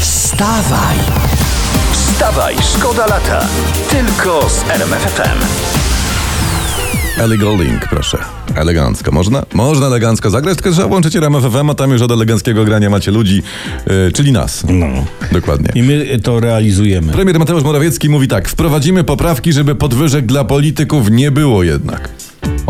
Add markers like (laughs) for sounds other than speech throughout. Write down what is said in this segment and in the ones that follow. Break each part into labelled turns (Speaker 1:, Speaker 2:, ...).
Speaker 1: Wstawaj! Wstawaj, szkoda lata. Tylko z RMFFM.
Speaker 2: Ellie Golding, proszę. Elegancko. Można? Można elegancko zagrać, tylko trzeba włączyć RMFFM, a tam już od eleganckiego grania macie ludzi, yy, czyli nas. No. Dokładnie.
Speaker 3: I my to realizujemy.
Speaker 2: Premier Mateusz Morawiecki mówi tak. Wprowadzimy poprawki, żeby podwyżek dla polityków nie było jednak.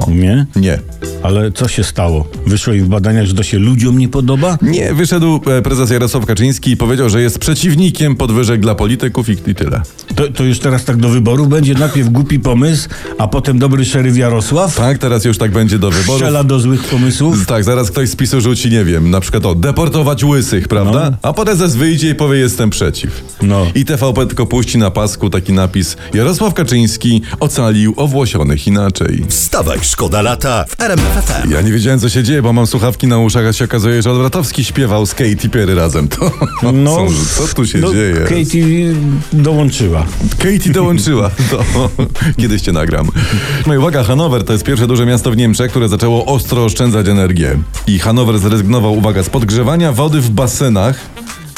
Speaker 3: Nie?
Speaker 2: Nie.
Speaker 3: Ale co się stało? Wyszło i w badaniach, że to się ludziom nie podoba?
Speaker 2: Nie, wyszedł e, prezes Jarosław Kaczyński i powiedział, że jest przeciwnikiem podwyżek dla polityków i, i tyle.
Speaker 3: To, to już teraz tak do wyborów będzie najpierw głupi pomysł, a potem dobry szeryf Jarosław?
Speaker 2: Tak, teraz już tak będzie do wyborów.
Speaker 3: Strzela do złych pomysłów?
Speaker 2: Z- Tak, zaraz ktoś z PiSu rzuci, nie wiem, na przykład o, deportować łysych, prawda? A prezes wyjdzie i powie, jestem przeciw.
Speaker 3: No.
Speaker 2: I TVP tylko puści na pasku taki napis Jarosław Kaczyński ocalił owłosionych inaczej.
Speaker 1: Wstawaj, szkoda lata w RMFFM.
Speaker 2: Ja nie wiedziałem, co się dzieje, bo mam słuchawki na uszach, a się okazuje, że Odwratowski śpiewał z Katy Perry razem. (laughs) To, no, co tu się
Speaker 3: no,
Speaker 2: dzieje?
Speaker 3: Katie dołączyła.
Speaker 2: Katie (laughs) dołączyła. To, kiedyś cię nagram. No i uwaga, Hanower to jest pierwsze duże miasto w Niemczech, które zaczęło ostro oszczędzać energię. I Hanower zrezygnował, uwaga, z podgrzewania wody w basenach.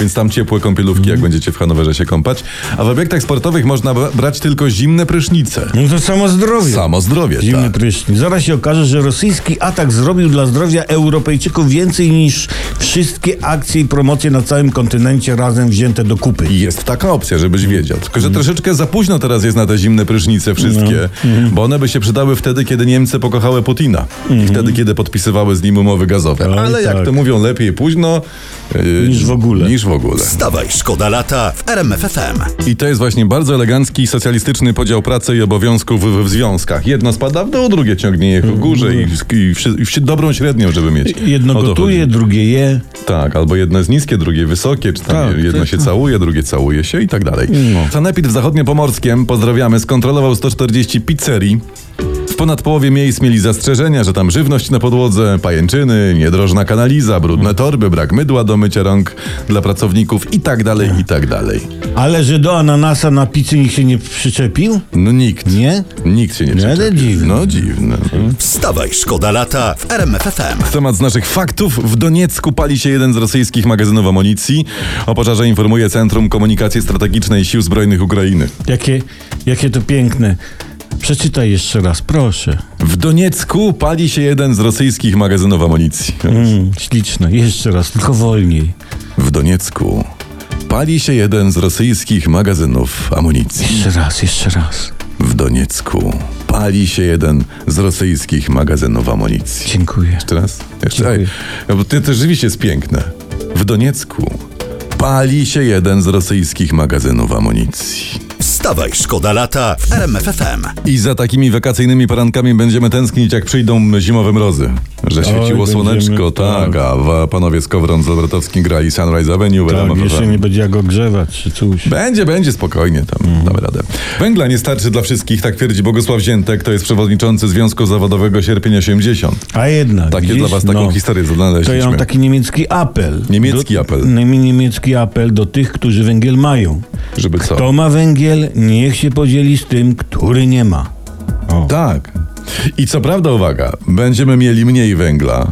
Speaker 2: Więc tam ciepłe kąpielówki, jak będziecie w Hanowerze się kąpać. A w obiektach sportowych można bra- brać tylko zimne prysznice.
Speaker 3: No to samo zdrowie.
Speaker 2: Samo zdrowie,
Speaker 3: Zimny
Speaker 2: tak.
Speaker 3: prysznic. Zaraz się okaże, że rosyjski atak zrobił dla zdrowia Europejczyków więcej niż wszystkie akcje i promocje na całym kontynencie razem wzięte do kupy.
Speaker 2: I Jest taka opcja, żebyś wiedział. Tylko, że
Speaker 3: Mhm.
Speaker 2: troszeczkę za późno teraz jest na te zimne prysznice wszystkie,
Speaker 3: No. Mhm.
Speaker 2: bo one by się przydały wtedy, kiedy Niemcy pokochały Putina. I wtedy, kiedy podpisywały z nim umowy gazowe.
Speaker 3: Oj,
Speaker 2: Ale jak
Speaker 3: tak.
Speaker 2: to mówią, lepiej późno yy,
Speaker 3: Niż w ogóle.
Speaker 2: Niż w ogóle.
Speaker 1: Wstawaj, szkoda lata w RMFFM.
Speaker 2: I to jest właśnie bardzo elegancki i socjalistyczny podział pracy i obowiązków w, w związkach. Jedno spada w dół, drugie ciągnie je w górze i, i, wszy- i wszy- dobrą średnią, żeby mieć.
Speaker 3: Mhm. Jedno
Speaker 2: O to
Speaker 3: gotuje,
Speaker 2: chodzi.
Speaker 3: drugie je.
Speaker 2: Tak, albo jedno jest niskie, drugie wysokie, czy tam
Speaker 3: Tak,
Speaker 2: jedno
Speaker 3: tak,
Speaker 2: się całuje, drugie całuje się i tak dalej.
Speaker 3: No.
Speaker 2: Sanepid w Zachodniopomorskiem, pozdrawiamy, skontrolował 140 pizzerii. W ponad połowie miejsc mieli zastrzeżenia, że tam żywność na podłodze, pajęczyny, niedrożna kanaliza, brudne torby, brak mydła do mycia rąk dla pracowników i tak dalej, i tak dalej.
Speaker 3: Ale że do ananasa na pizzy nikt się nie przyczepił?
Speaker 2: No nikt.
Speaker 3: Nie?
Speaker 2: Nikt się nie
Speaker 3: ale
Speaker 2: przyczepił.
Speaker 3: dziwne.
Speaker 2: No dziwne.
Speaker 1: Wstawaj, szkoda lata w RMFFM.
Speaker 2: Temat z naszych faktów. W Doniecku pali się jeden z rosyjskich magazynów amunicji. O pożarze informuje Centrum Komunikacji Strategicznej Sił Zbrojnych Ukrainy.
Speaker 3: Jakie, jakie to piękne. Przeczytaj jeszcze raz, proszę.
Speaker 2: W Doniecku pali się jeden z rosyjskich magazynów amunicji.
Speaker 3: Mm, śliczne, jeszcze raz, tylko wolniej.
Speaker 2: W Doniecku pali się jeden z rosyjskich magazynów amunicji.
Speaker 3: Jeszcze raz, jeszcze raz.
Speaker 2: W Doniecku pali się jeden z rosyjskich magazynów amunicji.
Speaker 3: Dziękuję.
Speaker 2: Jeszcze raz? Jeszcze. Ej,
Speaker 3: Dziękuję.
Speaker 2: no bo to, to rzeczywiście jest piękne. W Doniecku pali się jeden z rosyjskich magazynów amunicji.
Speaker 1: Wstawaj, szkoda lata w RMFFM.
Speaker 2: I za takimi wakacyjnymi porankami będziemy tęsknić, jak przyjdą zimowe mrozy. Że świeciło
Speaker 3: będziemy-
Speaker 2: słoneczko, tak,
Speaker 3: tak.
Speaker 2: a wa- panowie z Kowron z Lobratowskim grali Sunrise Avenue.
Speaker 3: Tak,
Speaker 2: wiadomo,
Speaker 3: jeszcze
Speaker 2: że-
Speaker 3: nie będzie jak ogrzewać czy coś.
Speaker 2: Będzie, będzie, spokojnie, tam
Speaker 3: Mhm.
Speaker 2: damy radę. Węgla nie starczy dla wszystkich, tak twierdzi Bogusław Ziętek, to jest przewodniczący Związku Zawodowego Sierpień 80.
Speaker 3: A jednak.
Speaker 2: Takie
Speaker 3: gdzieś, no.
Speaker 2: dla was taką historię
Speaker 3: To
Speaker 2: znaleźliśmy.
Speaker 3: ja mam tak- taki niemiecki apel.
Speaker 2: Niemiecki
Speaker 3: do,
Speaker 2: apel.
Speaker 3: Nie- Niemiecki apel do tych, którzy węgiel mają.
Speaker 2: Żeby co?
Speaker 3: Kto ma węgiel, niech się podzieli z tym, który nie ma. O.
Speaker 2: Tak. I co prawda, uwaga, będziemy mieli mniej węgla,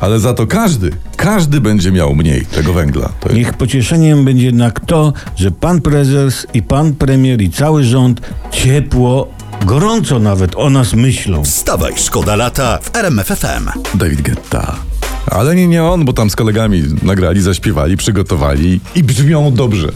Speaker 2: ale za to każdy, każdy będzie miał mniej tego węgla. To jest...
Speaker 3: Niech pocieszeniem będzie jednak to, że pan prezes i pan premier i cały rząd ciepło, gorąco nawet o nas myślą.
Speaker 1: Wstawaj, szkoda lata w RMFFM.
Speaker 2: David Guetta. Ale nie, nie on, bo tam z kolegami nagrali, zaśpiewali, przygotowali i brzmią dobrze.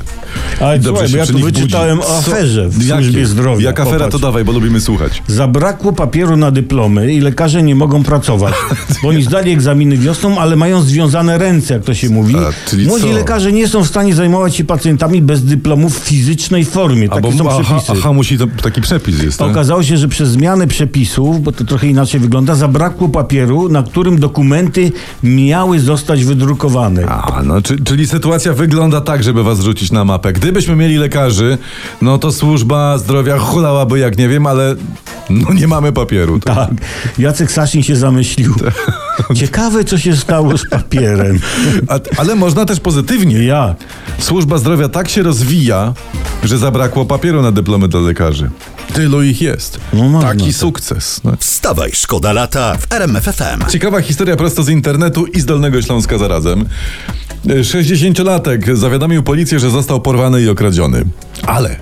Speaker 3: Ale
Speaker 2: Dobrze
Speaker 3: słuchaj,
Speaker 2: się
Speaker 3: bo ja
Speaker 2: przy
Speaker 3: tu
Speaker 2: nich
Speaker 3: wyczytałem
Speaker 2: budzi.
Speaker 3: o
Speaker 2: Co-
Speaker 3: aferze w
Speaker 2: Jakie?
Speaker 3: służbie zdrowia.
Speaker 2: Jak afera, to
Speaker 3: Popatrz.
Speaker 2: dawaj, bo lubimy słuchać.
Speaker 3: Zabrakło papieru na dyplomy i lekarze nie mogą (laughs) pracować, bo oni zdali egzaminy wiosną, ale mają związane ręce, jak to się mówi.
Speaker 2: A, czyli
Speaker 3: Młodzi
Speaker 2: co?
Speaker 3: lekarze nie są w stanie zajmować się pacjentami bez dyplomu w fizycznej formie. Takie są
Speaker 2: aha,
Speaker 3: przepisy.
Speaker 2: aha, musi to, taki przepis jest. tak?
Speaker 3: Okazało się, że przez zmianę przepisów, bo to trochę inaczej wygląda, zabrakło papieru, na którym dokumenty miały zostać wydrukowane.
Speaker 2: A, no, czy, czyli sytuacja wygląda tak, żeby was rzucić na mapę. Gdybyśmy mieli lekarzy, no to służba zdrowia hulałaby, jak nie wiem, ale no nie mamy papieru. Tak?
Speaker 3: Tak. Jacek Sasin się zamyślił. Ciekawe, co się stało z papierem.
Speaker 2: A, ale można też pozytywnie.
Speaker 3: Ja.
Speaker 2: Służba zdrowia tak się rozwija, że zabrakło papieru na dyplomy dla lekarzy. Tylu ich jest.
Speaker 3: No można
Speaker 2: Taki
Speaker 3: tak.
Speaker 2: sukces. No.
Speaker 1: Wstawaj, szkoda lata w RMFFM.
Speaker 2: Ciekawa historia prosto z internetu i z Dolnego Śląska zarazem. 60-latek zawiadomił policję, że został porwany i okradziony. Ale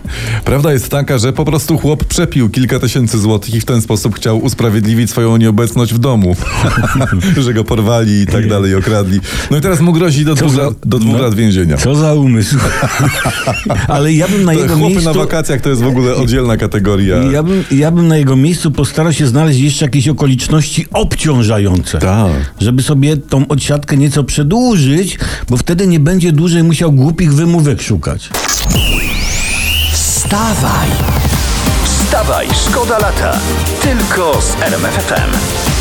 Speaker 2: prawda jest taka, że po prostu chłop przepił kilka tysięcy złotych i w ten sposób chciał usprawiedliwić swoją nieobecność w domu. (laughs) że go porwali i tak dalej, okradli. No i teraz mu grozi do dwóch,
Speaker 3: za-
Speaker 2: lat, do dwóch
Speaker 3: no.
Speaker 2: lat więzienia.
Speaker 3: Co za umysł. (laughs) Ale ja bym na
Speaker 2: Te
Speaker 3: jego
Speaker 2: Chłopy na
Speaker 3: miejscu...
Speaker 2: wakacjach to jest w
Speaker 3: (laughs)
Speaker 2: ogóle oddzielna kategoria.
Speaker 3: Ja bym, ja bym na jego miejscu postarał się znaleźć jeszcze jakieś okoliczności obciążające.
Speaker 2: Tak.
Speaker 3: Żeby sobie tą odsiadkę nieco przedłużyć, bo wtedy nie będzie dłużej musiał głupich wymówek szukać.
Speaker 1: Wstawaj! Wstawaj, szkoda lata! Tylko z RMFFM.